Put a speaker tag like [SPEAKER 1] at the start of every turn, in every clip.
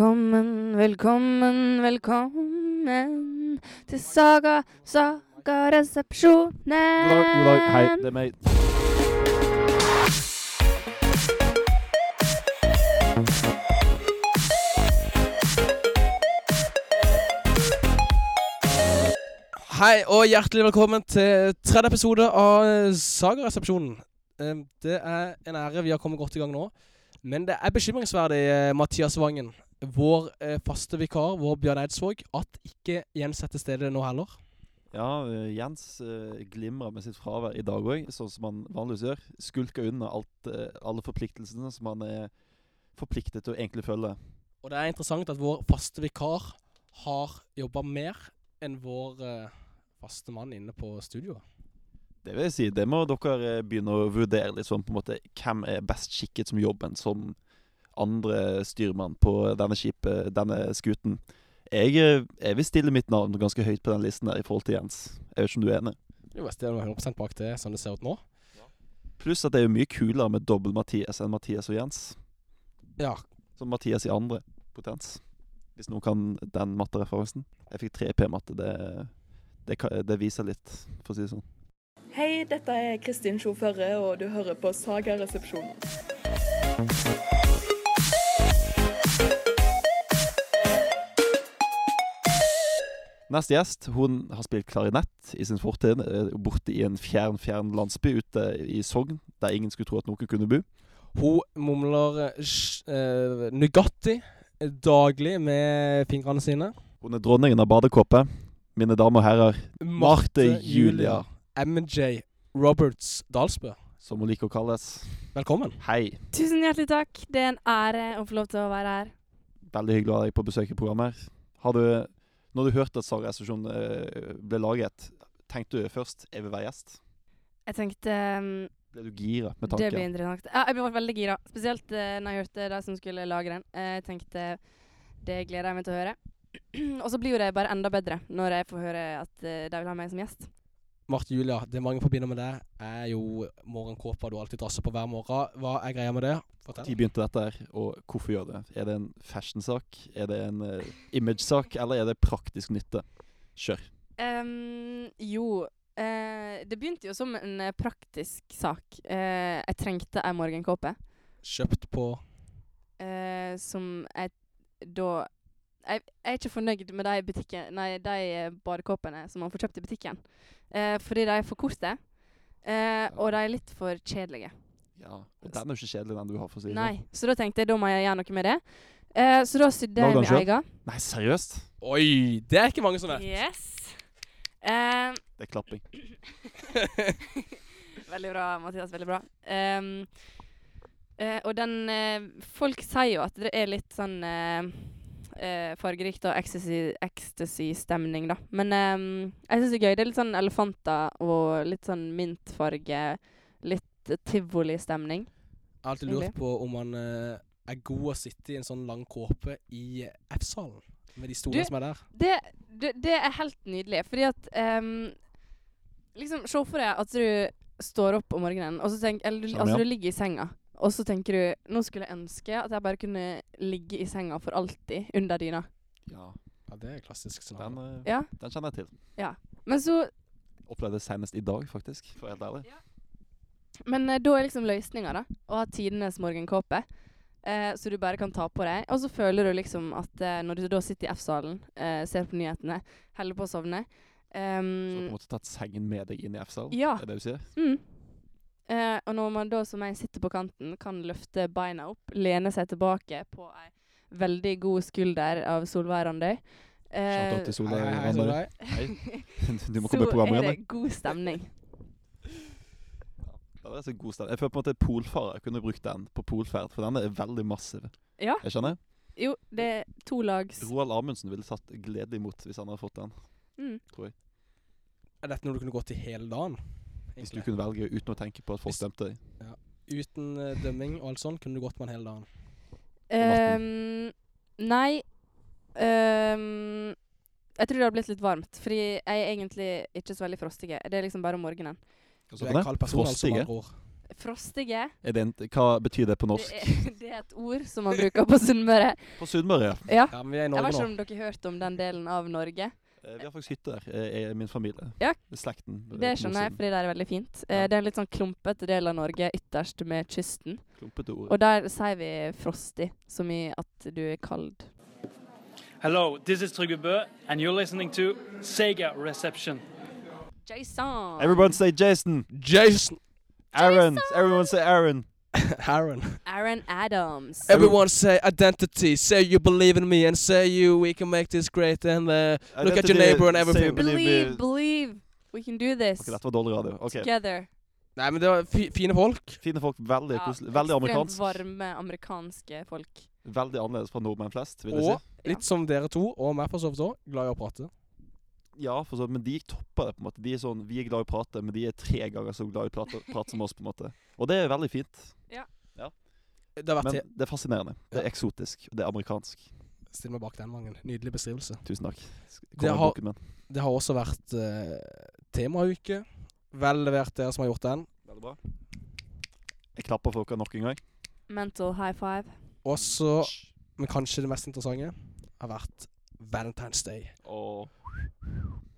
[SPEAKER 1] Velkommen, velkommen, velkommen til Saga, Saga Resepsjonen.
[SPEAKER 2] God dag, god dag. Hei, det er meg.
[SPEAKER 3] Hei og hjertelig velkommen til tredje episode av Sagaresepsjonen. Eh, Det er en ære vi har kommet godt i gang nå. Men det er bekymringsverdig, eh, Mathias Vangen, vår eh, faste vikar, vår Bjørn Eidsvåg, at ikke Jens er til stede nå heller.
[SPEAKER 2] Ja, eh, Jens eh, glimrer med sitt fravær i dag òg, sånn som han vanligvis gjør. Skulker unna alt, eh, alle forpliktelsene som han er forpliktet til å egentlig følge.
[SPEAKER 3] Og det er interessant at vår faste vikar har jobba mer enn vår eh, faste mann inne på studioet.
[SPEAKER 2] Det vil jeg si, det må dere eh, begynne å vurdere litt sånn på en måte Hvem er best skikket som jobben som andre styrmann på denne skipet, denne skuten? Jeg, eh, jeg vil stille mitt navn ganske høyt på den listen her i forhold til Jens. Jeg vet ikke om du er enig?
[SPEAKER 3] Jo, jeg stiller meg 100 bak det, sånn det ser ut nå.
[SPEAKER 2] Pluss at det er jo mye kulere med dobbel-Mathias enn Mathias og Jens.
[SPEAKER 3] Ja,
[SPEAKER 2] Som Mathias i andre potens. Hvis noen kan den mattereferansen. Jeg fikk 3 P-matte. Det, det, ka- det viser litt, for å si det sånn.
[SPEAKER 4] Hei, dette er Kristin Sjåføre, og du hører på Saga-resepsjonen.
[SPEAKER 2] Neste gjest hun har spilt klarinett i sin fortid. eh, Borte i en fjern, fjern landsby ute i Sogn, der ingen skulle tro at noen kunne bo.
[SPEAKER 3] Hun mumler eh, sj- eh, Nugatti eh, daglig med fingrene sine.
[SPEAKER 2] Hun er dronningen av badekåpet. Mine damer og herrer, Marte Julia,
[SPEAKER 3] MJ Roberts Dalsbø.
[SPEAKER 2] som hun liker å kalles.
[SPEAKER 3] Velkommen.
[SPEAKER 2] Hei.
[SPEAKER 5] Tusen hjertelig takk. Det er en ære å få lov til å være her.
[SPEAKER 2] Veldig hyggelig å ha deg på besøk i programmet. her. Har du, når du hørte at Saga Stasjon eh, ble laget, tenkte du først 'jeg vil være gjest'?
[SPEAKER 5] Jeg tenkte ehm,
[SPEAKER 2] Ble du gira med
[SPEAKER 5] det blir
[SPEAKER 2] tanken?
[SPEAKER 5] interessant. Ja, jeg ble veldig gira. Spesielt uh, når jeg hørte de som skulle lage den. Eh, jeg tenkte det gleder jeg meg til å høre. Og så blir jo det bare enda bedre når jeg får høre at eh, de vil ha meg som gjest.
[SPEAKER 3] Marte Julia, det mange forbinder med deg, er jo morgenkåpa du alltid drasser på hver morgen. Hva er greia med det?
[SPEAKER 2] Når
[SPEAKER 3] Fortell.
[SPEAKER 2] begynte dette her, og hvorfor gjør det? Er det en fashion-sak? Er det en eh, image-sak? Eller er det praktisk nytte? Kjør.
[SPEAKER 5] Ehm, jo, eh, det begynte jo som en eh, praktisk sak. Eh, jeg trengte ei morgenkåpe.
[SPEAKER 3] Kjøpt på
[SPEAKER 5] eh, som jeg da jeg, jeg er ikke fornøyd med de, butikken, nei, de eh, badekåpene som man får kjøpt i butikken. Eh, fordi de er for korte, eh, og de er litt for kjedelige.
[SPEAKER 2] Ja. og Den er jo ikke kjedelig, den du har, for å si det
[SPEAKER 5] Nei, Så da tenkte jeg da må jeg gjøre noe med det. Eh, så da sydde jeg min
[SPEAKER 2] Lagde han selv?
[SPEAKER 5] egen.
[SPEAKER 2] sånn. Nei, seriøst?
[SPEAKER 3] Oi! Det er ikke mange som vet.
[SPEAKER 5] Yes. Eh,
[SPEAKER 2] Det er klapping.
[SPEAKER 5] Veldig bra, Mathias. Veldig bra. Ehm, eh, og den eh, Folk sier jo at det er litt sånn eh, eh, fargerikt og ecstasy- ecstasy-stemning, da. Men ehm, jeg syns det er gøy. Det er litt sånn elefanter og litt sånn myntfarge. Litt tivolistemning.
[SPEAKER 3] Jeg har alltid lurt på om han eh, er god å sitte i en sånn lang kåpe i F-salen. Med de
[SPEAKER 5] Du-
[SPEAKER 3] stolene som er der.
[SPEAKER 5] Det, det, det er helt nydelig, fordi at ehm, Liksom, se for deg at du står opp om morgenen, og så tenk, eller du,
[SPEAKER 2] Skjønner,
[SPEAKER 5] altså,
[SPEAKER 2] Sånn, ja.
[SPEAKER 5] du ligger i senga, og så tenker du Nå skulle jeg ønske at jeg bare kunne ligge i senga for alltid, under dyna.
[SPEAKER 2] Ja,
[SPEAKER 3] Ja, det er klassisk.
[SPEAKER 2] den, eh,
[SPEAKER 5] Ja.
[SPEAKER 2] den kjenner jeg til.
[SPEAKER 5] Men så
[SPEAKER 2] Opplevde det senest i dag, faktisk. For å være helt ærlig.
[SPEAKER 5] Men eh, da er liksom løsninga, da, å ha tidenes morgenkåpe. Eh, så du bare kan ta på deg. Og så føler du liksom at eh, når du da sitter i F-salen, eh, ser på nyhetene, holder på å sovne
[SPEAKER 2] Så du har på
[SPEAKER 5] ehm,
[SPEAKER 2] en måte tatt sengen med deg inn i F-salen?
[SPEAKER 5] Ja.
[SPEAKER 2] Er det det du sier?
[SPEAKER 5] Mm. Eh, og når man da, som jeg, sitter på kanten, kan løfte beina opp, lene seg tilbake på ei veldig god skulder av Solveig Randøy eh,
[SPEAKER 2] Shout out til
[SPEAKER 3] Hei,
[SPEAKER 2] Solveig
[SPEAKER 3] hei, hei,
[SPEAKER 2] Randøy.
[SPEAKER 3] Solveig.
[SPEAKER 2] Du må komme i
[SPEAKER 5] Så
[SPEAKER 2] programmet
[SPEAKER 5] er
[SPEAKER 2] igjen.
[SPEAKER 5] det god stemning.
[SPEAKER 2] Ja, det er så god stemning. Jeg føler på en måte polfarer kunne brukt den på polferd, for den er veldig massiv.
[SPEAKER 5] Ja.
[SPEAKER 2] Jeg skjønner.
[SPEAKER 5] Jo, det er to lags
[SPEAKER 2] Roald Amundsen ville tatt gledelig imot hvis han hadde fått den.
[SPEAKER 5] mm.
[SPEAKER 3] Er dette noe du kunne gått i hele dagen?
[SPEAKER 2] Hvis du
[SPEAKER 3] egentlig?
[SPEAKER 2] kunne velge uten å tenke på at folk
[SPEAKER 3] Hvis-
[SPEAKER 2] stemte deg.
[SPEAKER 3] Uten eh, dømming og alt sånt kunne du gått med den hele dagen.
[SPEAKER 5] Ehm, Nei Ehm, Jeg tror det har blitt litt varmt, fordi jeg er egentlig ikke så veldig frostig. Det er liksom bare om morgenen.
[SPEAKER 2] Hva
[SPEAKER 3] Du
[SPEAKER 2] sa
[SPEAKER 3] er
[SPEAKER 2] du
[SPEAKER 3] en
[SPEAKER 2] for
[SPEAKER 3] kald
[SPEAKER 2] det?
[SPEAKER 3] person, altså, med
[SPEAKER 2] Frostige?
[SPEAKER 3] andre ord.
[SPEAKER 5] Frostige.
[SPEAKER 2] Er det en, hva betyr det på
[SPEAKER 5] Det
[SPEAKER 2] norsk?
[SPEAKER 5] er, det er et ord som man bruker på Sunnmøre.
[SPEAKER 2] På Sunnmøre, ja.
[SPEAKER 5] Ja.
[SPEAKER 3] Ja, men vi er i
[SPEAKER 5] Jeg sånn- vet
[SPEAKER 3] Norge
[SPEAKER 5] ikke
[SPEAKER 3] nå.
[SPEAKER 5] om dere hørte om den delen av Norge.
[SPEAKER 2] Eh, Vi har faktisk hytte der, eh, jeg, min familie.
[SPEAKER 5] Ja.
[SPEAKER 2] Slekten. eh,
[SPEAKER 5] Det
[SPEAKER 2] på
[SPEAKER 5] skjønner jeg,
[SPEAKER 2] Mosiden.
[SPEAKER 5] fordi det er veldig fint. Eh,
[SPEAKER 2] Ja.
[SPEAKER 5] Det er en litt sånn klumpete del av Norge ytterst med kysten.
[SPEAKER 2] Klumpete ord.
[SPEAKER 5] Og der sier vi frostig, som i at du er kald.
[SPEAKER 6] Hello, this is Trygve Bø, and you're listening to Sega Reception.
[SPEAKER 5] Jason!
[SPEAKER 2] Everyone say Jason.
[SPEAKER 3] Jason
[SPEAKER 2] Aaron. Everyone say Aaron.
[SPEAKER 3] Aaron.
[SPEAKER 5] Aaron Adams.
[SPEAKER 3] Everyone say identity. Say you believe in me and say you we can make this great and uh, look at your
[SPEAKER 2] Identity,
[SPEAKER 3] neighbor and
[SPEAKER 2] say
[SPEAKER 3] everything.
[SPEAKER 2] you believe
[SPEAKER 5] Believe,
[SPEAKER 2] me.
[SPEAKER 5] believe! We can do this
[SPEAKER 2] Ok, dette var dårlig radio. Ok,
[SPEAKER 5] together.
[SPEAKER 3] Nei, men det var fi fine folk.
[SPEAKER 2] Fine folk. Veldig koselig. Veldig amerikansk.
[SPEAKER 5] varme amerikanske folk.
[SPEAKER 2] Veldig annerledes fra nordmenn flest, vil jeg
[SPEAKER 3] Og
[SPEAKER 2] si.
[SPEAKER 3] litt som dere to, og meg for så vidt òg, glad i å prate.
[SPEAKER 2] Ja, for så, vidt, men de topper det, på en måte. De er sånn, Vi er glad i å prate, men de er tre ganger så glad i å prate, prate som oss, på en måte. Og det er veldig fint.
[SPEAKER 3] Det har vært
[SPEAKER 2] Men
[SPEAKER 3] til.
[SPEAKER 2] det er fascinerende. Det er eksotisk. Og det er amerikansk.
[SPEAKER 3] Still meg bak den mangen. Nydelig beskrivelse.
[SPEAKER 2] Tusen takk.
[SPEAKER 3] Det har-
[SPEAKER 2] boken min.
[SPEAKER 3] Det har også vært eh, temauke. Vel levert, dere som har gjort den.
[SPEAKER 2] Veldig bra. Jeg klapper for dere nok en gang.
[SPEAKER 5] Mental high five.
[SPEAKER 3] Og så, men kanskje det mest interessante, har vært Valentine's Day.
[SPEAKER 2] Og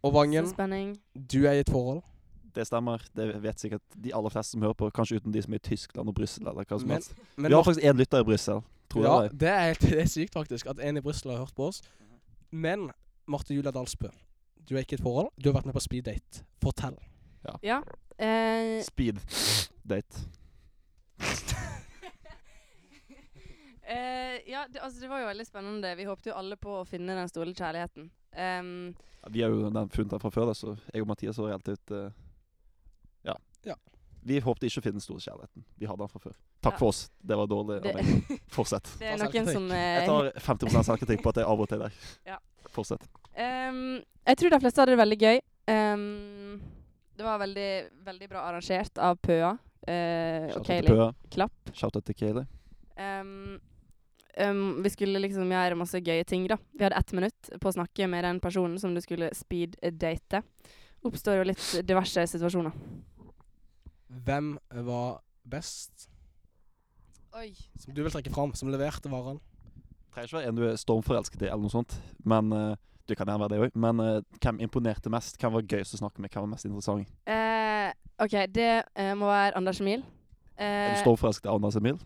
[SPEAKER 3] Og Vangen,
[SPEAKER 5] Så spenning.
[SPEAKER 3] du er i et forhold.
[SPEAKER 2] det stemmer. Det vet sikkert de aller fleste som hører på. Kanskje uten de som er i Tyskland og Brussel eller hva som
[SPEAKER 3] Men-
[SPEAKER 2] helst.
[SPEAKER 3] Men
[SPEAKER 2] Vi har faktisk én lytter i Brussel. Tror jeg
[SPEAKER 3] ja,
[SPEAKER 2] det.
[SPEAKER 3] det er, helt, det er sykt faktisk at en i Brussel har hørt på oss. Men Marte Julia Dalsbø, du er ikke i et forhold. Du har vært med på speeddate. Fortell.
[SPEAKER 5] Ja. Eh,
[SPEAKER 2] Speed date.
[SPEAKER 5] eh, ja, det, altså, det var jo veldig spennende. Vi håpte jo alle på å finne den store kjærligheten. Ehm,
[SPEAKER 2] Ja, Vi har jo den funnet den fra før, da, så jeg og Mathias var helt ut eh, ja.
[SPEAKER 3] Ja.
[SPEAKER 2] Vi håpte ikke å finne den store kjærligheten. Vi hadde den fra før. Takk for oss. Det var dårlig. av
[SPEAKER 5] det,
[SPEAKER 2] meg. Fortsett.
[SPEAKER 5] det er
[SPEAKER 3] Ta
[SPEAKER 5] noen
[SPEAKER 3] selvkritikk.
[SPEAKER 5] som
[SPEAKER 2] Jeg
[SPEAKER 5] eh,
[SPEAKER 2] tar 50 selvkritikk på at jeg avbrøt deg der.
[SPEAKER 5] Ja.
[SPEAKER 2] Fortsett.
[SPEAKER 5] Ehm, jeg tror de fleste hadde det veldig gøy. Ehm, det var veldig, veldig bra arrangert av Pøa eh, og
[SPEAKER 2] Shout out til
[SPEAKER 5] Kayleigh.
[SPEAKER 2] Pøa.
[SPEAKER 5] Klapp.
[SPEAKER 2] Shout out til Kayleigh.
[SPEAKER 5] Ehm, ehm, vi skulle liksom gjøre masse gøye ting, da. Vi hadde ett minutt på å snakke med den personen som du skulle speed-date. Oppstår jo litt diverse situasjoner.
[SPEAKER 3] Hvem var best,
[SPEAKER 5] Oi.
[SPEAKER 3] som du vil trekke fram, som leverte varene?
[SPEAKER 2] Trenger ikke være en du er stormforelsket i, eller noe sånt. Men eh, du kan gjerne være det òg. Men eh, hvem imponerte mest? Hvem var gøyest å snakke med? Hvem var mest interessant?
[SPEAKER 5] Eh, OK, det eh, må være Anders Emil.
[SPEAKER 2] Er du
[SPEAKER 5] Eh,
[SPEAKER 2] stormforelsket i Anders Emil?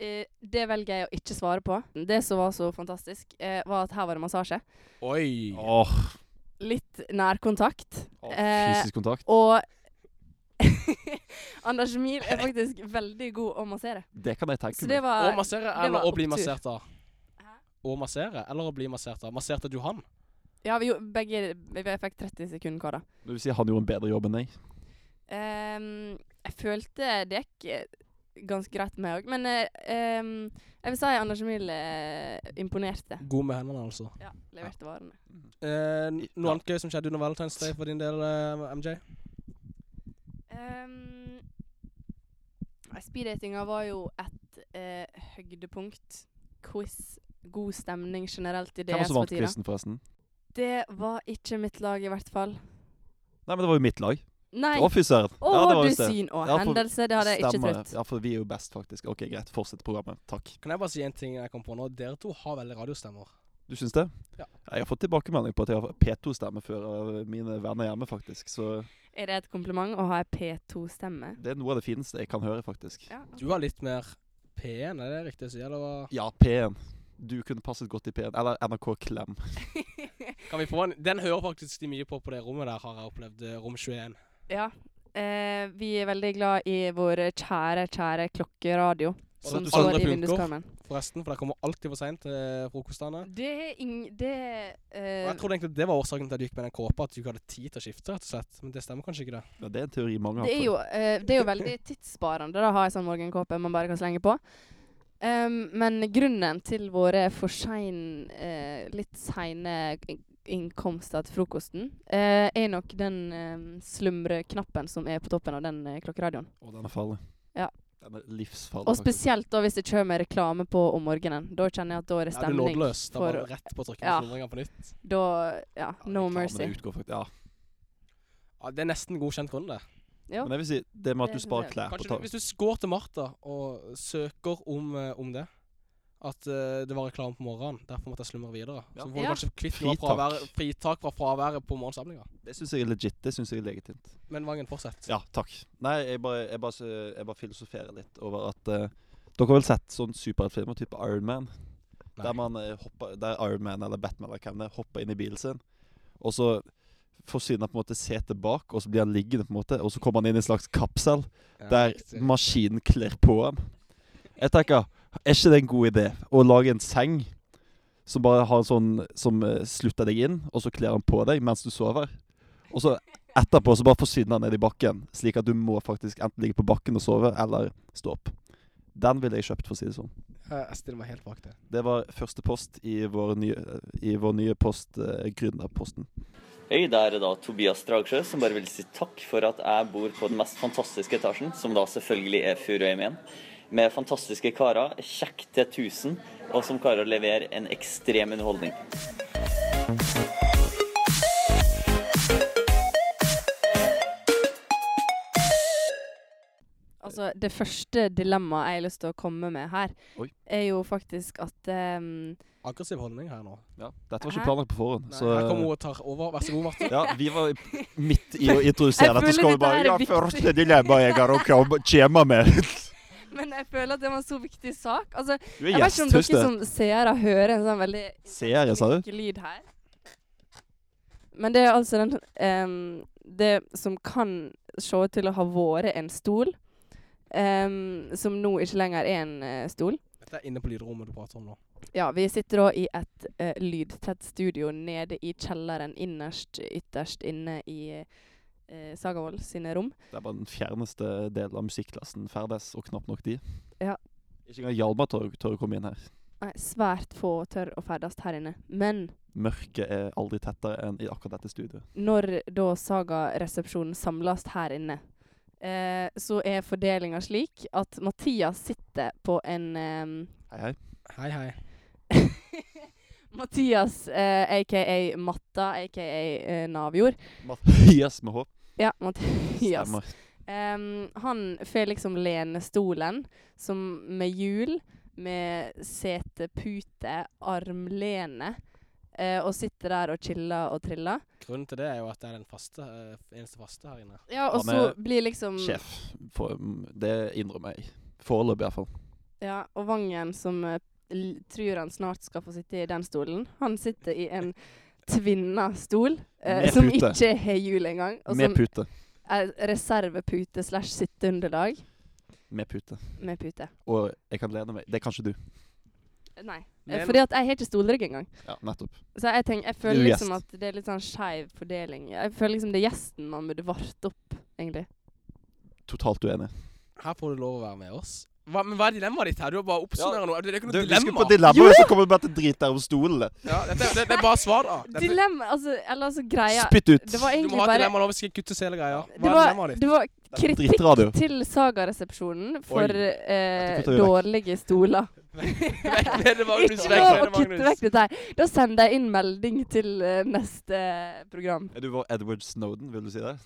[SPEAKER 5] eh, det velger jeg å ikke svare på. Det som var så fantastisk, eh, var at her var det massasje.
[SPEAKER 3] Oi!
[SPEAKER 2] Åh,
[SPEAKER 5] Litt nærkontakt. Eh,
[SPEAKER 2] fysisk kontakt.
[SPEAKER 5] og Anders Emil er faktisk veldig god å massere.
[SPEAKER 2] Det kan jeg tenke
[SPEAKER 5] Så det
[SPEAKER 2] meg.
[SPEAKER 3] Å
[SPEAKER 5] var
[SPEAKER 3] massere
[SPEAKER 5] det var
[SPEAKER 3] eller å bli
[SPEAKER 5] opptur.
[SPEAKER 3] massert av?
[SPEAKER 5] Hæ?
[SPEAKER 3] Å massere eller å bli massert av? Masserte du han?
[SPEAKER 5] Ja, vi gjorde begge Jeg fikk 30 sekunder hver, da.
[SPEAKER 2] Det vil si han gjorde en bedre jobb enn jeg.
[SPEAKER 5] Ehm, jeg følte det gikk eh, ganske greit med meg òg, men eh, ehm, jeg vil si Anders Emil eh, imponerte.
[SPEAKER 3] God med hendene, altså.
[SPEAKER 5] Ja, leverte varene.
[SPEAKER 3] Eh, n-
[SPEAKER 2] Ja.
[SPEAKER 3] noe annet gøy som skjedde under Valentine's Day for din del, eh, MJ?
[SPEAKER 5] Um, Speeddatinga var jo et eh, høydepunkt. Quiz, god stemning generelt i
[SPEAKER 2] Hvem var
[SPEAKER 5] DS
[SPEAKER 2] som
[SPEAKER 5] for
[SPEAKER 2] vant
[SPEAKER 5] tida.
[SPEAKER 2] quizen, forresten?
[SPEAKER 5] Det var ikke mitt lag, i hvert fall.
[SPEAKER 2] Nei, men det var jo mitt lag.
[SPEAKER 5] Nei!
[SPEAKER 2] Å, fy søren.
[SPEAKER 5] Å,
[SPEAKER 2] Ja, det var
[SPEAKER 5] du
[SPEAKER 2] visst det.
[SPEAKER 5] syn og
[SPEAKER 2] Ja, for-
[SPEAKER 5] hendelse! Det hadde jeg ikke
[SPEAKER 2] Stemmer.
[SPEAKER 5] trodd.
[SPEAKER 2] Ja, for vi er jo best, faktisk. OK, greit. Fortsett programmet. Takk.
[SPEAKER 3] Kan jeg bare si en ting jeg kom på nå? Dere to har veldig radiostemmer.
[SPEAKER 2] Du syns det?
[SPEAKER 3] Ja.
[SPEAKER 2] Jeg har fått tilbakemelding på at jeg har P2-stemme før av mine venner hjemme, faktisk. Så
[SPEAKER 5] Er det et kompliment å ha ei P2-stemme?
[SPEAKER 2] det er noe av det fineste jeg kan høre, faktisk.
[SPEAKER 5] Ja.
[SPEAKER 3] Du har litt mer P1, er det riktig å si? Eller hva?
[SPEAKER 2] Ja, P1. Du kunne passet godt i P1. Eller NRK Klem.
[SPEAKER 3] Kan vi få en? Den hører faktisk de mye på på det rommet der, har jeg opplevd. eh, Rom 21.
[SPEAKER 5] ja. Eh, vi er veldig glad i vår kjære, kjære klokkeradio.
[SPEAKER 3] Og
[SPEAKER 5] Som
[SPEAKER 3] at du
[SPEAKER 5] står
[SPEAKER 3] aldri
[SPEAKER 5] i
[SPEAKER 3] funker.
[SPEAKER 5] vinduskarmen.
[SPEAKER 3] Forresten, for det kommer alltid for seint til frokostene.
[SPEAKER 5] Det er ing... Det
[SPEAKER 3] Og
[SPEAKER 5] eh,
[SPEAKER 3] jeg trodde egentlig det var årsaken til at du gikk med den kåpa, at du ikke hadde tid til å skifte, rett og slett. Men det stemmer kanskje ikke, det.
[SPEAKER 2] Ja, det er en teori mange har.
[SPEAKER 5] Det er
[SPEAKER 2] prøvd.
[SPEAKER 5] jo, eh, det er jo veldig tidssparende da, å ha en sånn morgenkåpe man bare kan slenge på. Ehm, men grunnen til våre for sein, eh, litt seine in- innkomster til frokosten, eh, er nok den eh, slumreknappen som er på toppen av den eh, klokkeradioen.
[SPEAKER 2] Og den er farlig.
[SPEAKER 5] Ja.
[SPEAKER 2] Den er livsfarlig.
[SPEAKER 5] Og
[SPEAKER 2] faktisk.
[SPEAKER 5] spesielt da hvis det kommer reklame på om morgenen. Da kjenner jeg at da er det
[SPEAKER 3] Ja, du er
[SPEAKER 5] stemning.
[SPEAKER 3] nådeløs. Da
[SPEAKER 5] for-
[SPEAKER 3] var det rett på å trykke
[SPEAKER 5] Ja.
[SPEAKER 3] ja. slumringen på nytt.
[SPEAKER 5] da, ja,
[SPEAKER 2] Ja,
[SPEAKER 5] no
[SPEAKER 2] reklamene
[SPEAKER 5] mercy.
[SPEAKER 2] Utgår, faktisk. Ja.
[SPEAKER 3] Ja, det er nesten godkjent grunn, det.
[SPEAKER 5] Ja.
[SPEAKER 2] Men jeg vil si det med
[SPEAKER 5] Det
[SPEAKER 2] at du
[SPEAKER 5] synes
[SPEAKER 2] sparer
[SPEAKER 5] jeg.
[SPEAKER 2] klær på
[SPEAKER 3] Kanskje du,
[SPEAKER 2] tak.
[SPEAKER 3] hvis du går til Martha og søker om, eh, om det At eh, det var reklame på morgenen, derfor måtte jeg slumre videre.
[SPEAKER 2] Ja.
[SPEAKER 3] Så får du
[SPEAKER 5] Ja.
[SPEAKER 3] kanskje kvitt noe av
[SPEAKER 2] Fritak.
[SPEAKER 3] fraværet- fritak fra fraværet på morgensamlinga.
[SPEAKER 2] Det syns jeg er legit. Det synes jeg er legitimt.
[SPEAKER 3] Men Vangen, fortsett.
[SPEAKER 2] Ja, takk. Nei, jeg bare, jeg bare, jeg bare filosoferer litt over at eh, Dere har vel sett sånn superheltfilmer type Iron Man?
[SPEAKER 3] Nei.
[SPEAKER 2] Der, man, eh, hopper, der Iron Man eller Batman eller hvem det er, hopper inn i bilen sin, og så forsvinner på en måte setet bak, og så blir han liggende, på en måte, og så kommer han inn i en slags kapsel
[SPEAKER 3] Ja,
[SPEAKER 2] der
[SPEAKER 3] riktig.
[SPEAKER 2] maskinen kler på han. Jeg tenker, er ikke det en god idé å lage en seng som bare har en sånn som eh, slutter deg inn, og så kler han på deg mens du sover? Og så etterpå så bare forsvinner han ned i bakken, slik at du må faktisk enten ligge på bakken og sove, eller stå opp. Den ville jeg kjøpt, for å si det sånn.
[SPEAKER 3] Eh, Jeg stiller meg helt bak det.
[SPEAKER 2] Det var første post i vår nye, i vår nye post, eh, Gründerposten.
[SPEAKER 7] Hei, det er da Tobias Dragsjø som bare vil si takk for at jeg bor på den mest fantastiske etasjen, som da selvfølgelig er Furuheim 1. Med fantastiske karer, kjekk til 1000, og som klarer å levere en ekstrem underholdning.
[SPEAKER 5] Altså, det første dilemmaet jeg har lyst til å komme med her,
[SPEAKER 2] Oi.
[SPEAKER 5] er jo faktisk at ehm,
[SPEAKER 3] Aggressiv holdning her nå.
[SPEAKER 2] Ja, dette var ikke
[SPEAKER 5] Hæ?
[SPEAKER 2] planlagt på forhånd.
[SPEAKER 3] Nei,
[SPEAKER 2] Så,
[SPEAKER 3] Her kommer hun og tar over. Vær så god, Marte.
[SPEAKER 2] ja, vi var i- midt i å introdusere
[SPEAKER 5] Jeg
[SPEAKER 2] dette.
[SPEAKER 5] føler
[SPEAKER 2] Så skal
[SPEAKER 5] dette
[SPEAKER 2] vi
[SPEAKER 5] her
[SPEAKER 2] bare
[SPEAKER 5] er
[SPEAKER 2] Ja,
[SPEAKER 5] viktig.
[SPEAKER 2] første dilemma jeg har å komme- tjema med.
[SPEAKER 5] Men jeg føler at det var en så viktig sak. Altså,
[SPEAKER 2] Du er
[SPEAKER 5] jeg vet
[SPEAKER 2] gjest,
[SPEAKER 5] ikke sånn- om
[SPEAKER 2] husk
[SPEAKER 5] dere som
[SPEAKER 2] det.
[SPEAKER 5] seere hører en sånn veldig
[SPEAKER 2] Seere, sa du?
[SPEAKER 5] kvikk lyd her. Men det er altså den ehm, Det som kan se ut til å ha vært en stol, ehm, som nå ikke lenger er en eh, stol.
[SPEAKER 3] Dette er inne på lydrommet du prater om nå.
[SPEAKER 5] Ja, vi sitter da i et eh, lydtett studio nede i kjelleren, innerst, ytterst inne i uh, Sagavold sine rom.
[SPEAKER 2] Det er bare den fjerneste delen av musikklassen ferdes, og knapt nok de.
[SPEAKER 5] Ja.
[SPEAKER 2] Ikke engang Hjalmar tør, tør å komme inn her.
[SPEAKER 5] Nei, svært få tør å ferdes her inne. Men
[SPEAKER 2] Mørket er aldri tettere enn i akkurat dette studioet.
[SPEAKER 5] når da Saga-resepsjonen samles her inne, eh, så er fordelinga slik at Mathias sitter på en eh,
[SPEAKER 2] Hei, hei.
[SPEAKER 3] Hei, hei.
[SPEAKER 5] Mathias, eh, aka Matta, aka eh, Navjord.
[SPEAKER 2] Mathias med H.
[SPEAKER 5] Ja, Mathias.
[SPEAKER 2] Stemmer.
[SPEAKER 5] Em, han får liksom lenestolen som med hjul, med setepute, armlene, eh, og sitter der og chiller og triller.
[SPEAKER 3] Grunnen til det er jo at det er den faste, eh, eneste faste her inne.
[SPEAKER 5] Ja, og
[SPEAKER 2] Han er
[SPEAKER 5] så blir liksom
[SPEAKER 2] Sjef. For, mm, det innrømmer jeg. Foreløpig, i hvert fall.
[SPEAKER 5] Ja, og Vangen, som eh, l- tror han snart skal få sitte i den stolen, han sitter i en tvinna stol, eh,
[SPEAKER 2] Med
[SPEAKER 5] som
[SPEAKER 2] pute.
[SPEAKER 5] ikke har hjul engang, og
[SPEAKER 2] Med
[SPEAKER 5] som
[SPEAKER 2] pute.
[SPEAKER 5] er reservepute slash sitteunderlag
[SPEAKER 2] Med pute.
[SPEAKER 5] med pute.
[SPEAKER 2] Og jeg kan lene meg Det kan ikke du.
[SPEAKER 5] Nei, eh,
[SPEAKER 3] Men-
[SPEAKER 5] fordi at jeg har ikke stolrygg engang.
[SPEAKER 2] Ja, nettopp.
[SPEAKER 5] Så jeg, tenker, jeg
[SPEAKER 2] Du
[SPEAKER 5] føler
[SPEAKER 2] er
[SPEAKER 5] liksom
[SPEAKER 2] gjest.
[SPEAKER 5] at det er litt sånn skeiv fordeling. Jeg føler liksom det er gjesten man burde varte opp, egentlig.
[SPEAKER 2] Totalt uenig.
[SPEAKER 3] Her får du lov å være med oss. Hva, men hva er dilemmaet ditt her? Du har bare oppsummerer noe. Det er ikke noe dilemma.
[SPEAKER 2] dilemma, og så kommer du bare til drit der om stolene.
[SPEAKER 3] ja, dette, det, det er bare svar, da. Dette-
[SPEAKER 5] Dilemma, altså, eller altså greia
[SPEAKER 2] Spytt ut.
[SPEAKER 5] Det var
[SPEAKER 3] du må
[SPEAKER 5] egentlig
[SPEAKER 3] ha et
[SPEAKER 5] bare
[SPEAKER 3] dilemma nå, vi skal kutte hele greia.
[SPEAKER 5] det
[SPEAKER 3] Hva er
[SPEAKER 5] var,
[SPEAKER 3] dilemmaet ditt?
[SPEAKER 5] det var
[SPEAKER 2] er en
[SPEAKER 5] kritikk
[SPEAKER 2] drittradio.
[SPEAKER 5] til Sagaresepsjonen for
[SPEAKER 2] Oi.
[SPEAKER 5] eh,
[SPEAKER 2] Dette kutter vi vekk.
[SPEAKER 5] dårlige stoler.
[SPEAKER 3] Vekk med det, Magnus.
[SPEAKER 5] Ikke
[SPEAKER 3] Vekk
[SPEAKER 5] lov
[SPEAKER 3] med
[SPEAKER 5] å
[SPEAKER 3] det,
[SPEAKER 5] kutte
[SPEAKER 3] Magnus.
[SPEAKER 5] vekk dette her. Da sender jeg inn melding til eh, neste program.
[SPEAKER 2] Er du vår Edward Snowden, vil du si det?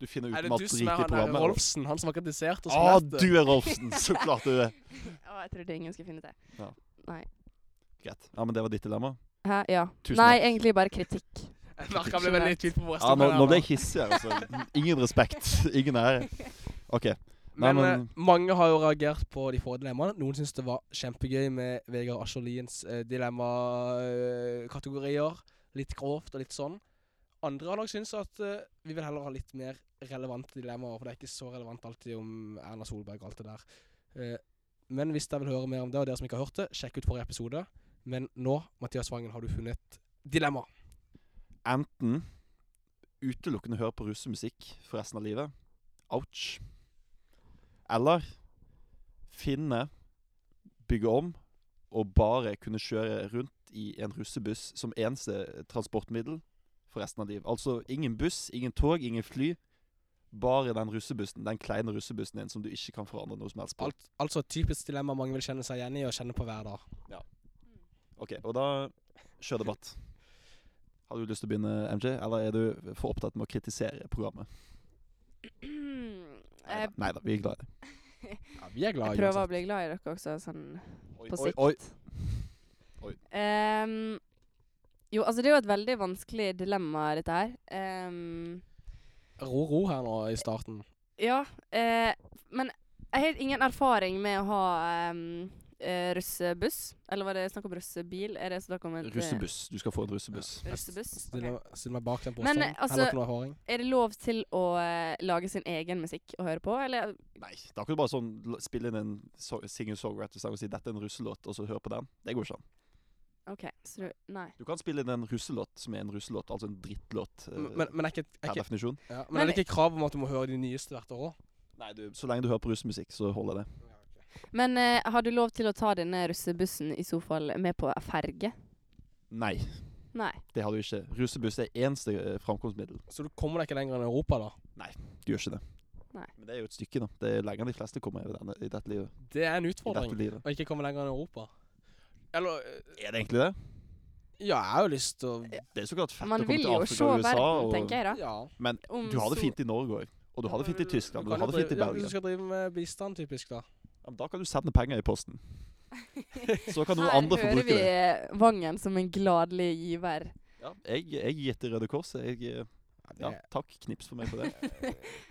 [SPEAKER 2] Du finner
[SPEAKER 3] Er
[SPEAKER 2] ut
[SPEAKER 3] det
[SPEAKER 2] med
[SPEAKER 3] du
[SPEAKER 2] alt
[SPEAKER 3] som er
[SPEAKER 2] rike
[SPEAKER 3] han der
[SPEAKER 2] programmer.
[SPEAKER 3] Rolfsen? Han som har kritisert oss?
[SPEAKER 2] Å,
[SPEAKER 3] for dette?
[SPEAKER 2] Ah, du er Rolfsen! Så klart du er.
[SPEAKER 5] Å, jeg trodde ingen skulle finne det.
[SPEAKER 2] Greit. Ja, men det var ditt dilemma.
[SPEAKER 5] Hæ? Ja.
[SPEAKER 2] Tusen
[SPEAKER 5] Nei,
[SPEAKER 2] takk.
[SPEAKER 5] egentlig bare kritikk.
[SPEAKER 3] Jeg merker han ble veldig i tvil på hvor
[SPEAKER 2] Ja, nå, nå ble jeg hissig, altså. Ingen respekt. Ingen ære. OK. Nei,
[SPEAKER 3] Men,
[SPEAKER 2] men-
[SPEAKER 3] eh, mange har jo reagert på de få dilemmaene. Noen syns det var kjempegøy med Vegard Ascher Liens eh, dilemmakategorier. Litt grovt og litt sånn. Andre har nok syntes at eh, vi vil heller ha litt mer relevante dilemmaer, for det er ikke så relevant alltid om Erna Solberg og alt det der. Eh, men hvis dere vil høre mer om det, og dere som ikke har hørt det, sjekk ut forrige episode. Men nå, Mathias Vangen, har du funnet et dilemma.
[SPEAKER 2] Enten utelukkende høre på russemusikk for resten av livet. Ouch. Eller finne, bygge om og bare kunne kjøre rundt i en russebuss som eneste transportmiddel for resten av livet. Altså ingen buss, ingen tog, ingen fly. Bare den russebussen, den kleine russebussen din som du ikke kan forandre noe som helst på.
[SPEAKER 3] Alt, altså et typisk dilemma mange vil kjenne seg igjen i og kjenne på hver dag.
[SPEAKER 2] Ok, Og da kjør debatt. Har du lyst til å begynne, MJ? Eller er du for opptatt med å kritisere programmet?
[SPEAKER 5] Jeg,
[SPEAKER 2] Nei da, vi er glad i deg.
[SPEAKER 3] Ja, vi er glad
[SPEAKER 5] jeg
[SPEAKER 3] i
[SPEAKER 5] prøver å
[SPEAKER 3] uansett.
[SPEAKER 5] bli glad i dere også, sånn
[SPEAKER 2] Oi,
[SPEAKER 5] på
[SPEAKER 2] oi,
[SPEAKER 5] sikt.
[SPEAKER 2] oi. Oi.
[SPEAKER 5] Ehm, jo, altså det er jo et veldig vanskelig dilemma, dette her. Ehm,
[SPEAKER 3] Ro, ro her nå i starten.
[SPEAKER 5] ja, eh, men jeg har ingen erfaring med å ha ehm, eh, russebuss. Eller var det snakk om russebil? Er det snakk om et eh,
[SPEAKER 2] Russebuss. Du skal få en russebuss.
[SPEAKER 5] Russebuss?
[SPEAKER 3] Stille,
[SPEAKER 5] Ok.
[SPEAKER 3] stille meg bak den
[SPEAKER 5] Men,
[SPEAKER 3] påstanden.
[SPEAKER 5] eh, altså-
[SPEAKER 3] Heller ikke noe erfaring.
[SPEAKER 5] Er det lov til å eh, lage sin egen musikk å høre på, eller
[SPEAKER 2] Nei, da kan du bare sånn la- spille inn en so singer-songwriter-sang og si 'dette er en russelåt', og så høre på den. Det går ikke an.
[SPEAKER 5] OK, så du Nei.
[SPEAKER 2] Du kan spille inn en russelåt som er en russelåt, altså en drittlåt eh,
[SPEAKER 3] Men, men, men, er ikke,
[SPEAKER 2] per
[SPEAKER 3] er ikke,
[SPEAKER 2] definisjon.
[SPEAKER 3] ja, men
[SPEAKER 5] Men-
[SPEAKER 3] er det ikke krav om at du må høre de nyeste hvert år òg?
[SPEAKER 2] Nei, du, så lenge du hører på russemusikk, så holder det.
[SPEAKER 5] Men eh, har du lov til å ta denne russebussen i så fall med på ferge?
[SPEAKER 2] Nei,
[SPEAKER 5] Nei.
[SPEAKER 2] det har du ikke. Russebuss er eneste eh, framkomstmiddel.
[SPEAKER 3] Så du kommer deg ikke lenger enn Europa, da?
[SPEAKER 2] Du gjør ikke det.
[SPEAKER 5] Nei.
[SPEAKER 2] Men det er jo et stykke, da. Det er lenger enn de fleste kommer i, denne, i dette livet.
[SPEAKER 3] Det er en
[SPEAKER 2] I
[SPEAKER 3] utfordring.
[SPEAKER 2] dette livet.
[SPEAKER 3] Å ikke komme lenger enn Europa. Eller eh,
[SPEAKER 2] Er det egentlig det?
[SPEAKER 3] Ja, jeg har jo lyst til å
[SPEAKER 2] Det er så klart fett
[SPEAKER 5] Man
[SPEAKER 2] å komme
[SPEAKER 5] vil
[SPEAKER 2] til
[SPEAKER 5] jo se
[SPEAKER 2] Afrika og USA.
[SPEAKER 5] verden,
[SPEAKER 2] Og,
[SPEAKER 5] tenker jeg da.
[SPEAKER 3] Ja.
[SPEAKER 2] men
[SPEAKER 5] Om
[SPEAKER 2] du har det
[SPEAKER 5] så-
[SPEAKER 2] fint i Norge òg. Og du har det fint i Tyskland, og
[SPEAKER 3] kan
[SPEAKER 2] du har
[SPEAKER 3] jo
[SPEAKER 2] det fint i
[SPEAKER 3] drive- Ja, hvis
[SPEAKER 2] Belgia.
[SPEAKER 3] du skal drive med bistand, typisk, da.
[SPEAKER 2] Ja, men Da kan du sende penger i posten. Så kan noen
[SPEAKER 5] Her
[SPEAKER 2] andre få
[SPEAKER 5] hører
[SPEAKER 2] bruke
[SPEAKER 5] vi
[SPEAKER 2] det.
[SPEAKER 5] eh, Vangen som en gladelig giver.
[SPEAKER 2] Ja, jeg, jeg gir til Røde Kors. Jeg, eh, ja,
[SPEAKER 3] det-
[SPEAKER 2] takk. Knips for meg for det.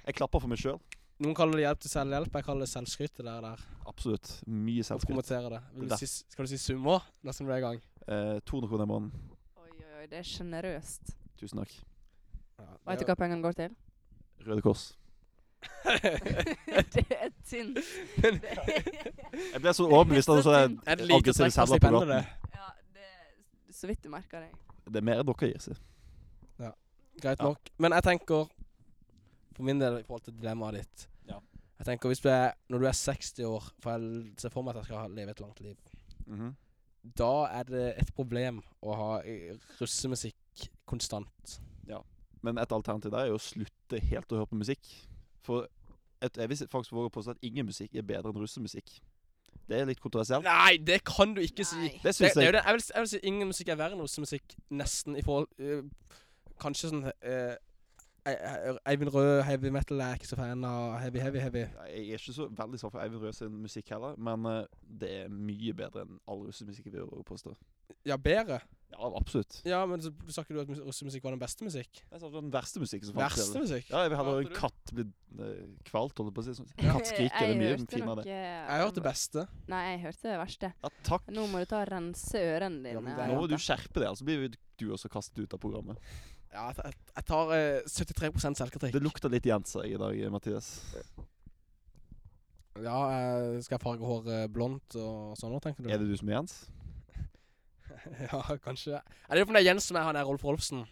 [SPEAKER 2] Jeg klapper for meg sjøl.
[SPEAKER 3] Noen kaller det hjelp til selvhjelp, jeg kaller det selvskryt. Det der, der.
[SPEAKER 2] Absolutt. Mye
[SPEAKER 3] Å
[SPEAKER 2] selvskryt.
[SPEAKER 3] promotere det.
[SPEAKER 2] Det
[SPEAKER 3] Vil du
[SPEAKER 2] der.
[SPEAKER 3] si, skal du si summer nesten du er i gang?
[SPEAKER 2] Eh, 200 kroner i måneden.
[SPEAKER 5] Oi, oi, oi, det er sjenerøst.
[SPEAKER 2] Tusen takk.
[SPEAKER 5] Veit du hva pengene går til?
[SPEAKER 2] Røde Kors.
[SPEAKER 5] det er tynt.
[SPEAKER 2] Jeg ble så overbevist av sånn
[SPEAKER 3] Er det lite
[SPEAKER 2] aggressive
[SPEAKER 3] trekk på
[SPEAKER 2] selger på gaten.
[SPEAKER 3] stipendet, det?
[SPEAKER 5] Ja, det er så vidt du merker det.
[SPEAKER 2] Det er mer enn dere gir seg.
[SPEAKER 3] Greit
[SPEAKER 2] Ja.
[SPEAKER 3] nok. Men jeg tenker, for min del i forhold til dilemmaet ditt
[SPEAKER 2] Ja.
[SPEAKER 3] Jeg tenker hvis du er, Når du er 60 år, for jeg ser for meg at jeg skal ha- leve et langt liv
[SPEAKER 2] Mhm.
[SPEAKER 3] Da er det et problem å ha eh, russemusikk konstant.
[SPEAKER 2] Men et alternativ der er jo å slutte helt å høre på musikk. For et, jeg vil faktisk våge å påstå at ingen musikk er bedre enn russemusikk. Det er litt kontroversielt.
[SPEAKER 3] Nei, det kan du ikke si!
[SPEAKER 5] Nei.
[SPEAKER 2] Det
[SPEAKER 3] Det,
[SPEAKER 2] syns
[SPEAKER 3] det, er jo
[SPEAKER 2] jeg.
[SPEAKER 3] det, jeg, vil, jeg vil si ingen musikk er verre enn russemusikk, nesten, i forhold eh, Kanskje sånn eh, Ei- Eivind Rød, heavy metal, er jeg ikke så fan av heavy, heavy, heavy.
[SPEAKER 2] Jeg er ikke så veldig sånn for Eivind Røe sin musikk heller, men eh, det er mye bedre enn all russemusikk, vil jeg våge å påstå.
[SPEAKER 3] Ja, bedre.
[SPEAKER 2] Ja, absolutt.
[SPEAKER 3] Ja, men så sa ikke du at mus- russemusikk var den beste musikk?
[SPEAKER 2] Det er sånn den verste musikken som fantes.
[SPEAKER 3] Verste musikk?
[SPEAKER 2] Ja, jeg vil heller høre en
[SPEAKER 3] Hater
[SPEAKER 2] katt bli eh, kvalt, holdt jeg på å si. Sånn. Katt skriker, det er mye finere det.
[SPEAKER 3] Jeg hørte beste.
[SPEAKER 5] eh, Nei, jeg hørte det verste.
[SPEAKER 2] Ja, takk.
[SPEAKER 5] Nå må du ta og rense ørene
[SPEAKER 3] Ja, men
[SPEAKER 5] dine.
[SPEAKER 3] det er
[SPEAKER 2] Nå
[SPEAKER 5] og-
[SPEAKER 2] må du skjerpe deg, ellers blir jo du også kastet ut av programmet.
[SPEAKER 3] Ja, jeg- jeg, jeg tar eh, 73
[SPEAKER 2] Det
[SPEAKER 3] selvkritikk.
[SPEAKER 2] lukter litt Jenser i dag, Mathias.
[SPEAKER 3] Eh, Ja, jeg skal farge håret eh, blondt og sånn nå, tenker du?
[SPEAKER 2] Er det du som er Jens?
[SPEAKER 3] ja, kanskje. Jeg lurer på om det er Jens som er han der Rolf Rolfsen.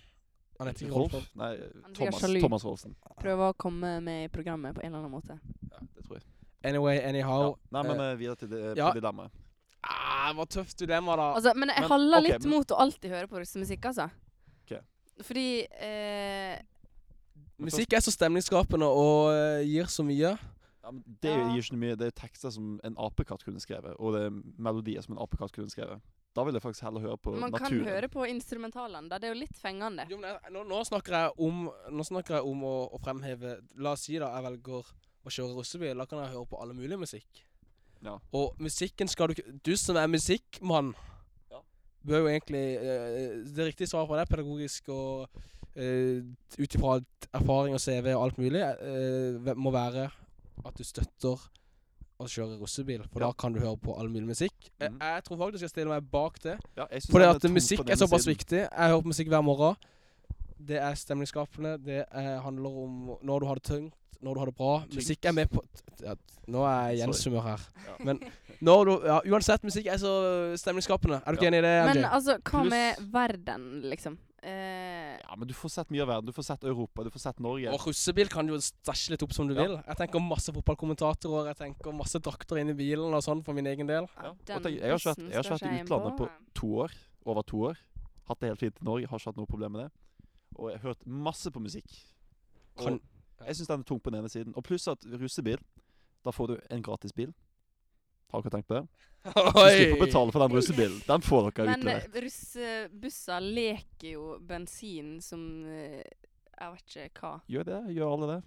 [SPEAKER 3] Han heter ikke Rolf.
[SPEAKER 2] Rolf? Nei,
[SPEAKER 5] Han sier
[SPEAKER 2] Thomas,
[SPEAKER 5] sjalu.
[SPEAKER 2] Thomas Rolfsen.
[SPEAKER 5] Prøve å komme med i programmet på en eller annen måte.
[SPEAKER 2] Det tror jeg.
[SPEAKER 3] Anyway,
[SPEAKER 2] Ja.
[SPEAKER 3] anyhow.
[SPEAKER 2] Nei, men
[SPEAKER 3] eh,
[SPEAKER 2] eh, videre til det,
[SPEAKER 3] ja.
[SPEAKER 2] på dilemmaet.
[SPEAKER 3] Ah, det var tøft dilemma, da.
[SPEAKER 5] Altså, men jeg
[SPEAKER 2] Men,
[SPEAKER 5] haller
[SPEAKER 2] ok,
[SPEAKER 5] litt
[SPEAKER 2] men-
[SPEAKER 5] mot å alltid høre på russemusikk, altså.
[SPEAKER 2] Ok.
[SPEAKER 5] Fordi eh,
[SPEAKER 3] Musikk er så stemningsskapende og eh, gir så mye.
[SPEAKER 2] Ja, men det
[SPEAKER 5] Ja.
[SPEAKER 2] gir ikke noe mye. Det er tekster som en apekatt kunne skrevet, og det er melodier som en apekatt kunne skrevet. Da vil jeg faktisk heller høre på
[SPEAKER 5] Man kan
[SPEAKER 2] naturen.
[SPEAKER 5] høre på instrumentalene, da. Det er jo litt fengende.
[SPEAKER 3] Jo, men jeg, nå, nå snakker jeg om, nå snakker jeg om å, å fremheve La oss si da jeg velger å kjøre russebil. Da kan jeg høre på alle mulige musikk.
[SPEAKER 2] Ja.
[SPEAKER 3] Og musikken skal du ikke Du som er musikkmann,
[SPEAKER 2] Ja.
[SPEAKER 3] bør jo egentlig eh, Det riktige svaret på det er pedagogisk og eh, ut ifra et erfaring og CV og alt mulig, eh, ve- må være at du støtter å kjøre russebil, for
[SPEAKER 2] Ja.
[SPEAKER 3] da kan du høre på all mulig musikk. Eh,
[SPEAKER 2] Mhm.
[SPEAKER 3] Jeg tror faktisk jeg stiller meg bak det.
[SPEAKER 2] Ja, jeg synes
[SPEAKER 3] Fordi
[SPEAKER 2] den
[SPEAKER 3] at
[SPEAKER 2] tung på
[SPEAKER 3] musikk er
[SPEAKER 2] denne
[SPEAKER 3] såpass
[SPEAKER 2] siden.
[SPEAKER 3] viktig. Jeg hører på musikk hver morgen. Det er stemningsskapende. Det er, handler om når du har det tungt, når du har det bra.
[SPEAKER 2] Tungt.
[SPEAKER 3] Musikk er med på t- ja, Nå er jeg i
[SPEAKER 2] Sorry.
[SPEAKER 3] Jens-humør her.
[SPEAKER 2] Ja.
[SPEAKER 3] Men når du ja, Uansett, musikk er så stemningsskapende. Er du
[SPEAKER 2] Ja.
[SPEAKER 3] ikke enig i det,
[SPEAKER 5] Men
[SPEAKER 3] MJ?
[SPEAKER 5] altså, hva
[SPEAKER 2] Pluss-
[SPEAKER 5] med verden, liksom? Eh,
[SPEAKER 2] Ja, men du får sett mye av verden. Du får sett Europa, du får sett Norge.
[SPEAKER 3] Og russebil kan du jo stæsje litt opp som du
[SPEAKER 2] Ja.
[SPEAKER 3] vil. Jeg tenker masse fotballkommentatorer, jeg tenker masse drakter inn i bilen og sånn for min egen del.
[SPEAKER 2] Ja. Og
[SPEAKER 5] den
[SPEAKER 2] tenk, jeg har ikke vært-
[SPEAKER 5] bussen
[SPEAKER 2] jeg har
[SPEAKER 5] skal
[SPEAKER 2] ikke vært i
[SPEAKER 5] inn
[SPEAKER 2] utlandet på- To år. Over to år. Hatt det helt fint i Norge, har ikke hatt noe problem med det. Og jeg har hørt masse på musikk. Og
[SPEAKER 3] Kan-
[SPEAKER 2] Jeg syns den er tung på den ene siden. Og pluss at russebil, da får du en gratis bil. Har dere tenkt på det? Du slipper å betale for den russebilen. Den får dere
[SPEAKER 5] Men
[SPEAKER 2] utlevert.
[SPEAKER 5] eh, russebusser leker jo bensin som eh, Jeg vet ikke hva.
[SPEAKER 2] Gjør det? Gjør alle det?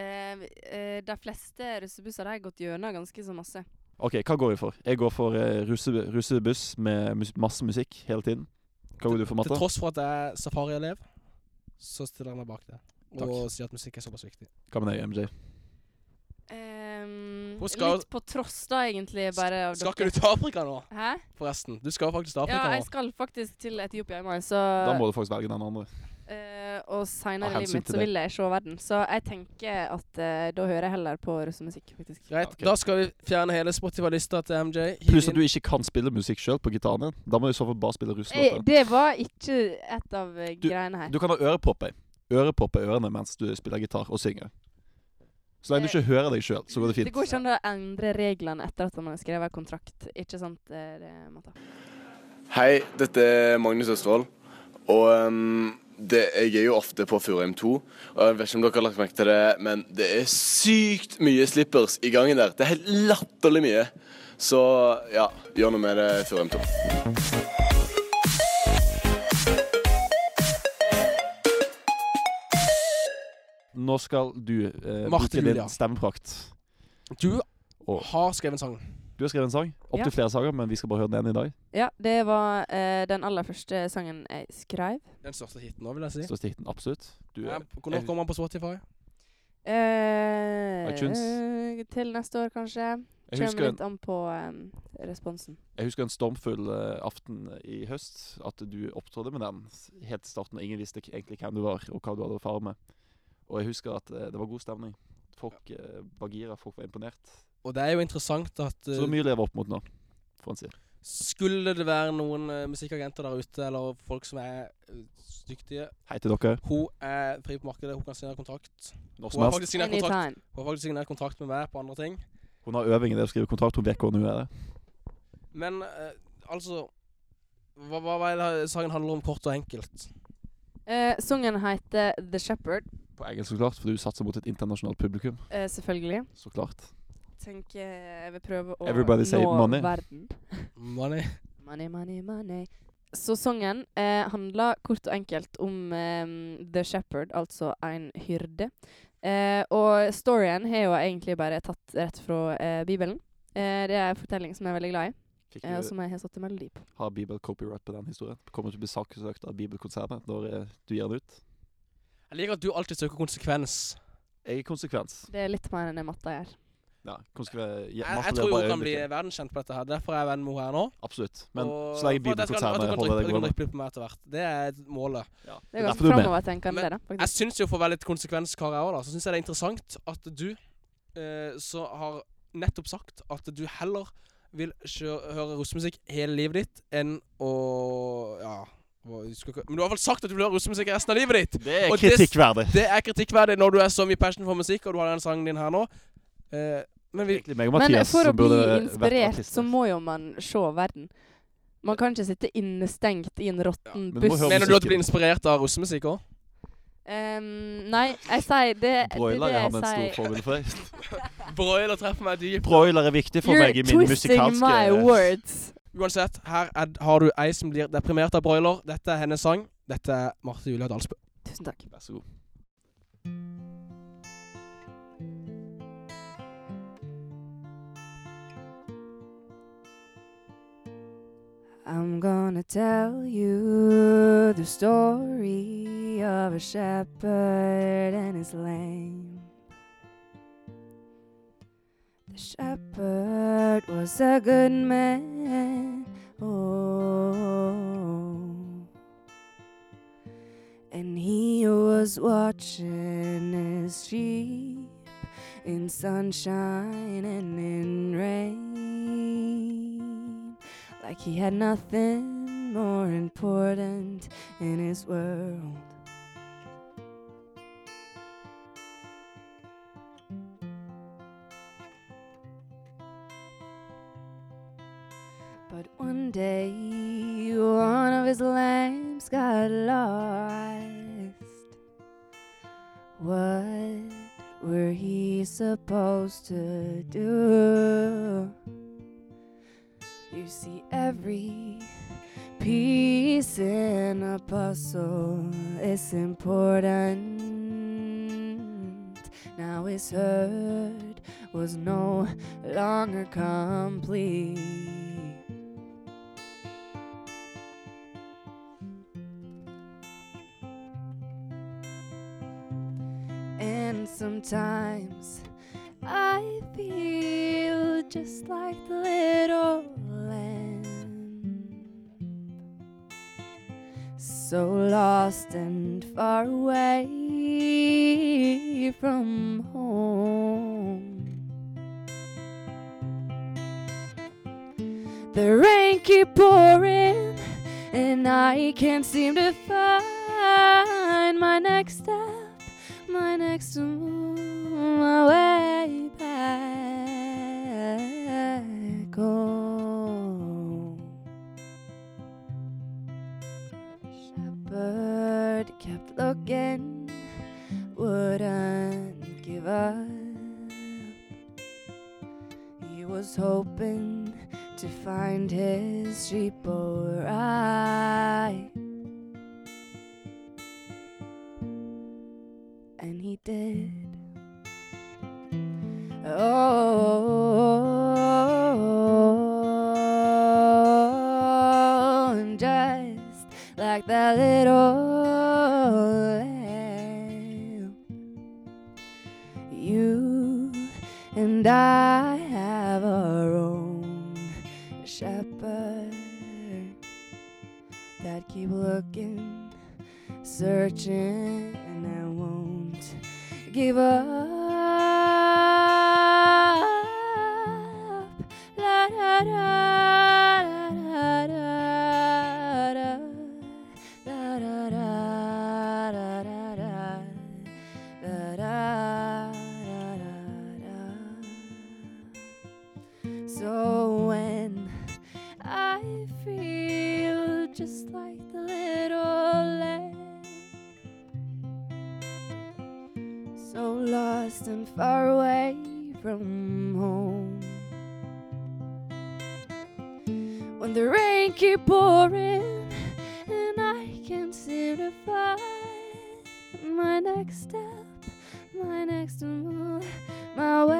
[SPEAKER 5] Eh, eh, de fleste russebusser de har gått gjennom ganske så masse.
[SPEAKER 2] OK, hva går vi for? Jeg går for eh, russe, russebuss med mus masse musikk hele tiden. Hva går du for,
[SPEAKER 3] Til
[SPEAKER 2] Matta?
[SPEAKER 3] tross for at jeg er safarielev, så stiller jeg meg bak det. Og
[SPEAKER 2] Takk.
[SPEAKER 3] sier at musikk er såpass viktig.
[SPEAKER 2] Hva med deg, MJ?
[SPEAKER 5] Eh, Ehm,
[SPEAKER 3] Hun skal-
[SPEAKER 5] litt på tross, da, egentlig. bare av
[SPEAKER 3] Skal
[SPEAKER 5] dere.
[SPEAKER 3] ikke du til Afrika nå,
[SPEAKER 5] Hæ?
[SPEAKER 3] forresten? Du skal faktisk til
[SPEAKER 5] Ja,
[SPEAKER 3] Afrika
[SPEAKER 5] jeg
[SPEAKER 3] nå.
[SPEAKER 5] skal faktisk til Etiopia i mai, så
[SPEAKER 2] Da må du faktisk velge den andre.
[SPEAKER 5] eh, Og
[SPEAKER 2] Av
[SPEAKER 5] seinere i
[SPEAKER 2] hensyn
[SPEAKER 5] livet mitt
[SPEAKER 2] til
[SPEAKER 5] så
[SPEAKER 2] deg.
[SPEAKER 5] vil jeg se verden. Så jeg tenker at eh, da hører jeg heller på russemusikk, faktisk.
[SPEAKER 3] Greit,
[SPEAKER 2] Ok.
[SPEAKER 3] da skal vi fjerne hele Spotify-lista til MJ. Hiv
[SPEAKER 2] Pluss
[SPEAKER 3] inn-
[SPEAKER 2] at du ikke kan spille musikk sjøl på gitaren din. Da må du i så fall bare spille
[SPEAKER 5] Eh,
[SPEAKER 2] russelåter.
[SPEAKER 5] det var ikke et av eh, greiene her.
[SPEAKER 2] Du kan ha ørepropper. Ørepropper i ørene mens du spiller gitar og synger. Så lenge du ikke hører deg sjøl, så går det
[SPEAKER 5] Eh, det går
[SPEAKER 2] fint.
[SPEAKER 5] ikke an å endre reglene etter at man har skrevet kontrakt. Ikke sant, eh, det, Mata?
[SPEAKER 8] Hei, dette er Magnus Østfold. Og ehm, det, jeg er jo ofte på Furuheim 2. Og jeg vet ikke om dere har lagt merke til det, men det er sykt mye slippers i gangen der. Det er helt latterlig mye. Så ja, gjør noe med det, Furuheim 2.
[SPEAKER 2] Nå skal du eh,
[SPEAKER 3] Marte
[SPEAKER 2] bruke din
[SPEAKER 3] Julia.
[SPEAKER 2] stemmeprakt.
[SPEAKER 3] Du
[SPEAKER 2] Og
[SPEAKER 3] har skrevet en sang.
[SPEAKER 2] du har skrevet en sang. Opptil
[SPEAKER 5] Ja.
[SPEAKER 2] flere sanger, men vi skal bare høre den ene i dag.
[SPEAKER 5] Ja, det var eh, den aller første sangen jeg skrev.
[SPEAKER 3] Den største hiten nå, vil jeg si.
[SPEAKER 2] Så stikker den absolutt. Du,
[SPEAKER 3] Ja,
[SPEAKER 2] er-
[SPEAKER 3] Når kommer den på Spotify?
[SPEAKER 5] Eh,
[SPEAKER 2] iTunes.
[SPEAKER 5] Til neste år, kanskje.
[SPEAKER 2] jeg husker
[SPEAKER 5] Kommer
[SPEAKER 2] en
[SPEAKER 5] litt an på eh, responsen.
[SPEAKER 2] Jeg husker en stormfull eh, aften i høst at du opptrådde med den s- helt til starten, og ingen visste k- egentlig hvem du var, og hva du hadde å fare med. Og jeg husker at eh, det var god stemning. Folk eh, var gira, folk var imponert.
[SPEAKER 3] Og det er jo interessant at
[SPEAKER 2] Så
[SPEAKER 3] eh,
[SPEAKER 2] det er mye å leve opp mot nå, får en si.
[SPEAKER 3] Skulle det være noen eh, musikkagenter der ute, eller folk som er eh, dyktige
[SPEAKER 2] Hei til dere,
[SPEAKER 3] Hun er fri på markedet, hun kan signere kontrakt.
[SPEAKER 2] når
[SPEAKER 3] Hun
[SPEAKER 2] som
[SPEAKER 3] har
[SPEAKER 2] helst.
[SPEAKER 3] faktisk signert kontrakt,
[SPEAKER 5] Anytime.
[SPEAKER 3] hun har faktisk signert kontrakt med meg på andre ting.
[SPEAKER 2] Hun har øving i det å skrive kontrakt, hun vet hvor hun er. det.
[SPEAKER 3] Men eh, altså hva, hva, hva er det sangen handler om, kort og enkelt?
[SPEAKER 5] Eh, sangen heter The Shepherd,
[SPEAKER 2] På engelsk, så klart, for du satser mot et internasjonalt publikum.
[SPEAKER 5] eh, selvfølgelig.
[SPEAKER 2] Så klart.
[SPEAKER 5] Tenker jeg vil prøve å
[SPEAKER 2] Everybody say
[SPEAKER 5] nå
[SPEAKER 2] money.
[SPEAKER 5] verden.
[SPEAKER 3] Money.
[SPEAKER 5] Money, money, money. Så sangen eh, handler kort og enkelt om eh, The Shepherd, altså en hyrde. Eh, og storyen har jo egentlig bare tatt rett fra eh, Bibelen. Eh, det er en fortelling som jeg er veldig glad i,
[SPEAKER 2] Fikk
[SPEAKER 5] eh, og
[SPEAKER 2] du
[SPEAKER 5] som jeg har satt en melodi på.
[SPEAKER 2] ha Bibel copyright på den historien? Kommer du til å bli saksøkt av Bibelkonsernet når eh, du gir den ut?
[SPEAKER 3] Jeg liker at du alltid søker konsekvens.
[SPEAKER 2] Jeg er konsekvens.
[SPEAKER 5] Det er litt mer enn det matta gjør.
[SPEAKER 2] Ja, konsekvens.
[SPEAKER 3] Jeg, jeg tror jo hun kan bli verdenskjent på dette her. Derfor er jeg venn med henne her nå.
[SPEAKER 2] Absolutt. Men
[SPEAKER 3] Og
[SPEAKER 2] så lenge
[SPEAKER 3] for at jeg skal-
[SPEAKER 2] Bibelkonsernet
[SPEAKER 3] at hun kan
[SPEAKER 2] holder
[SPEAKER 3] dryppe-
[SPEAKER 2] det
[SPEAKER 3] hun kan
[SPEAKER 2] gående
[SPEAKER 3] dryppe litt på meg etter hvert. Det er målet.
[SPEAKER 5] Det er
[SPEAKER 2] derfor
[SPEAKER 5] ganske
[SPEAKER 2] du er med.
[SPEAKER 5] framovertenkende, det, da.
[SPEAKER 3] Jeg
[SPEAKER 5] Faktisk.
[SPEAKER 3] syns jo for å være litt konsekvenskar jeg òg, da, så syns jeg det er interessant at du eh, så har nettopp sagt at du heller vil kjø høre russemusikk hele livet ditt enn å Ja. hva- jeg husker ikke- Men du har i hvert fall sagt at du vil høre russemusikk resten av livet ditt!
[SPEAKER 2] Det er
[SPEAKER 3] Og det-
[SPEAKER 2] kritikkverdig.
[SPEAKER 3] Det er kritikkverdig når du er så mye passion for musikk, og du har den sangen din her nå. Eh, men vi
[SPEAKER 2] Egentlig meg og
[SPEAKER 5] Men
[SPEAKER 2] Mathias
[SPEAKER 5] for å
[SPEAKER 2] som
[SPEAKER 5] bli
[SPEAKER 2] burde vært altså.
[SPEAKER 5] inspirert,
[SPEAKER 2] artister.
[SPEAKER 5] så må jo man se verden. Man kan ikke sitte innestengt i en råtten
[SPEAKER 2] men du må
[SPEAKER 5] buss.
[SPEAKER 2] høre
[SPEAKER 3] Mener du at du
[SPEAKER 2] musikken.
[SPEAKER 3] blir inspirert av russemusikk òg?
[SPEAKER 5] Ehm, nei, jeg sier det det er
[SPEAKER 2] Broiler er han en
[SPEAKER 5] det
[SPEAKER 2] stor
[SPEAKER 5] jeg sier.
[SPEAKER 2] forbilde for deg.
[SPEAKER 3] Broiler treffer meg dypt.
[SPEAKER 2] Broiler er viktig for meg i min musikalske
[SPEAKER 5] my words.
[SPEAKER 3] Uansett, her er, har du ei som blir deprimert av broiler. Dette er hennes sang. Dette er Marte Julia Dalsbø.
[SPEAKER 5] Tusen takk.
[SPEAKER 2] Vær så god.
[SPEAKER 1] I'm gonna tell you the story of a shepherd and his lamb. The shepherd was a good man. Oh. And he was watching his sheep in sunshine and in rain like he had nothing more important in his world. But one day, one of his lambs got lost. What were he supposed to do? You see, every piece in a puzzle is important.
[SPEAKER 5] now is heard was no longer complete. And sometimes I feel just like the little lamb. So lost and far away from home. The rain keep pouring, and I can't seem to find my next step my next move, my way back home. Shepherd kept looking, wouldn't give up. He was hoping to find his sheep or I. and he did. Oh, and just like that little lamb, you and I have our own shepherd that keep looking searching and I won't give up. La da da da da da da. La da da da da da. La da da da da. So when I feel just like the little lamb. So lost and far away from home. When the rain keep pouring and I can't seem to find my next step, my next move, my way Mm-hmm.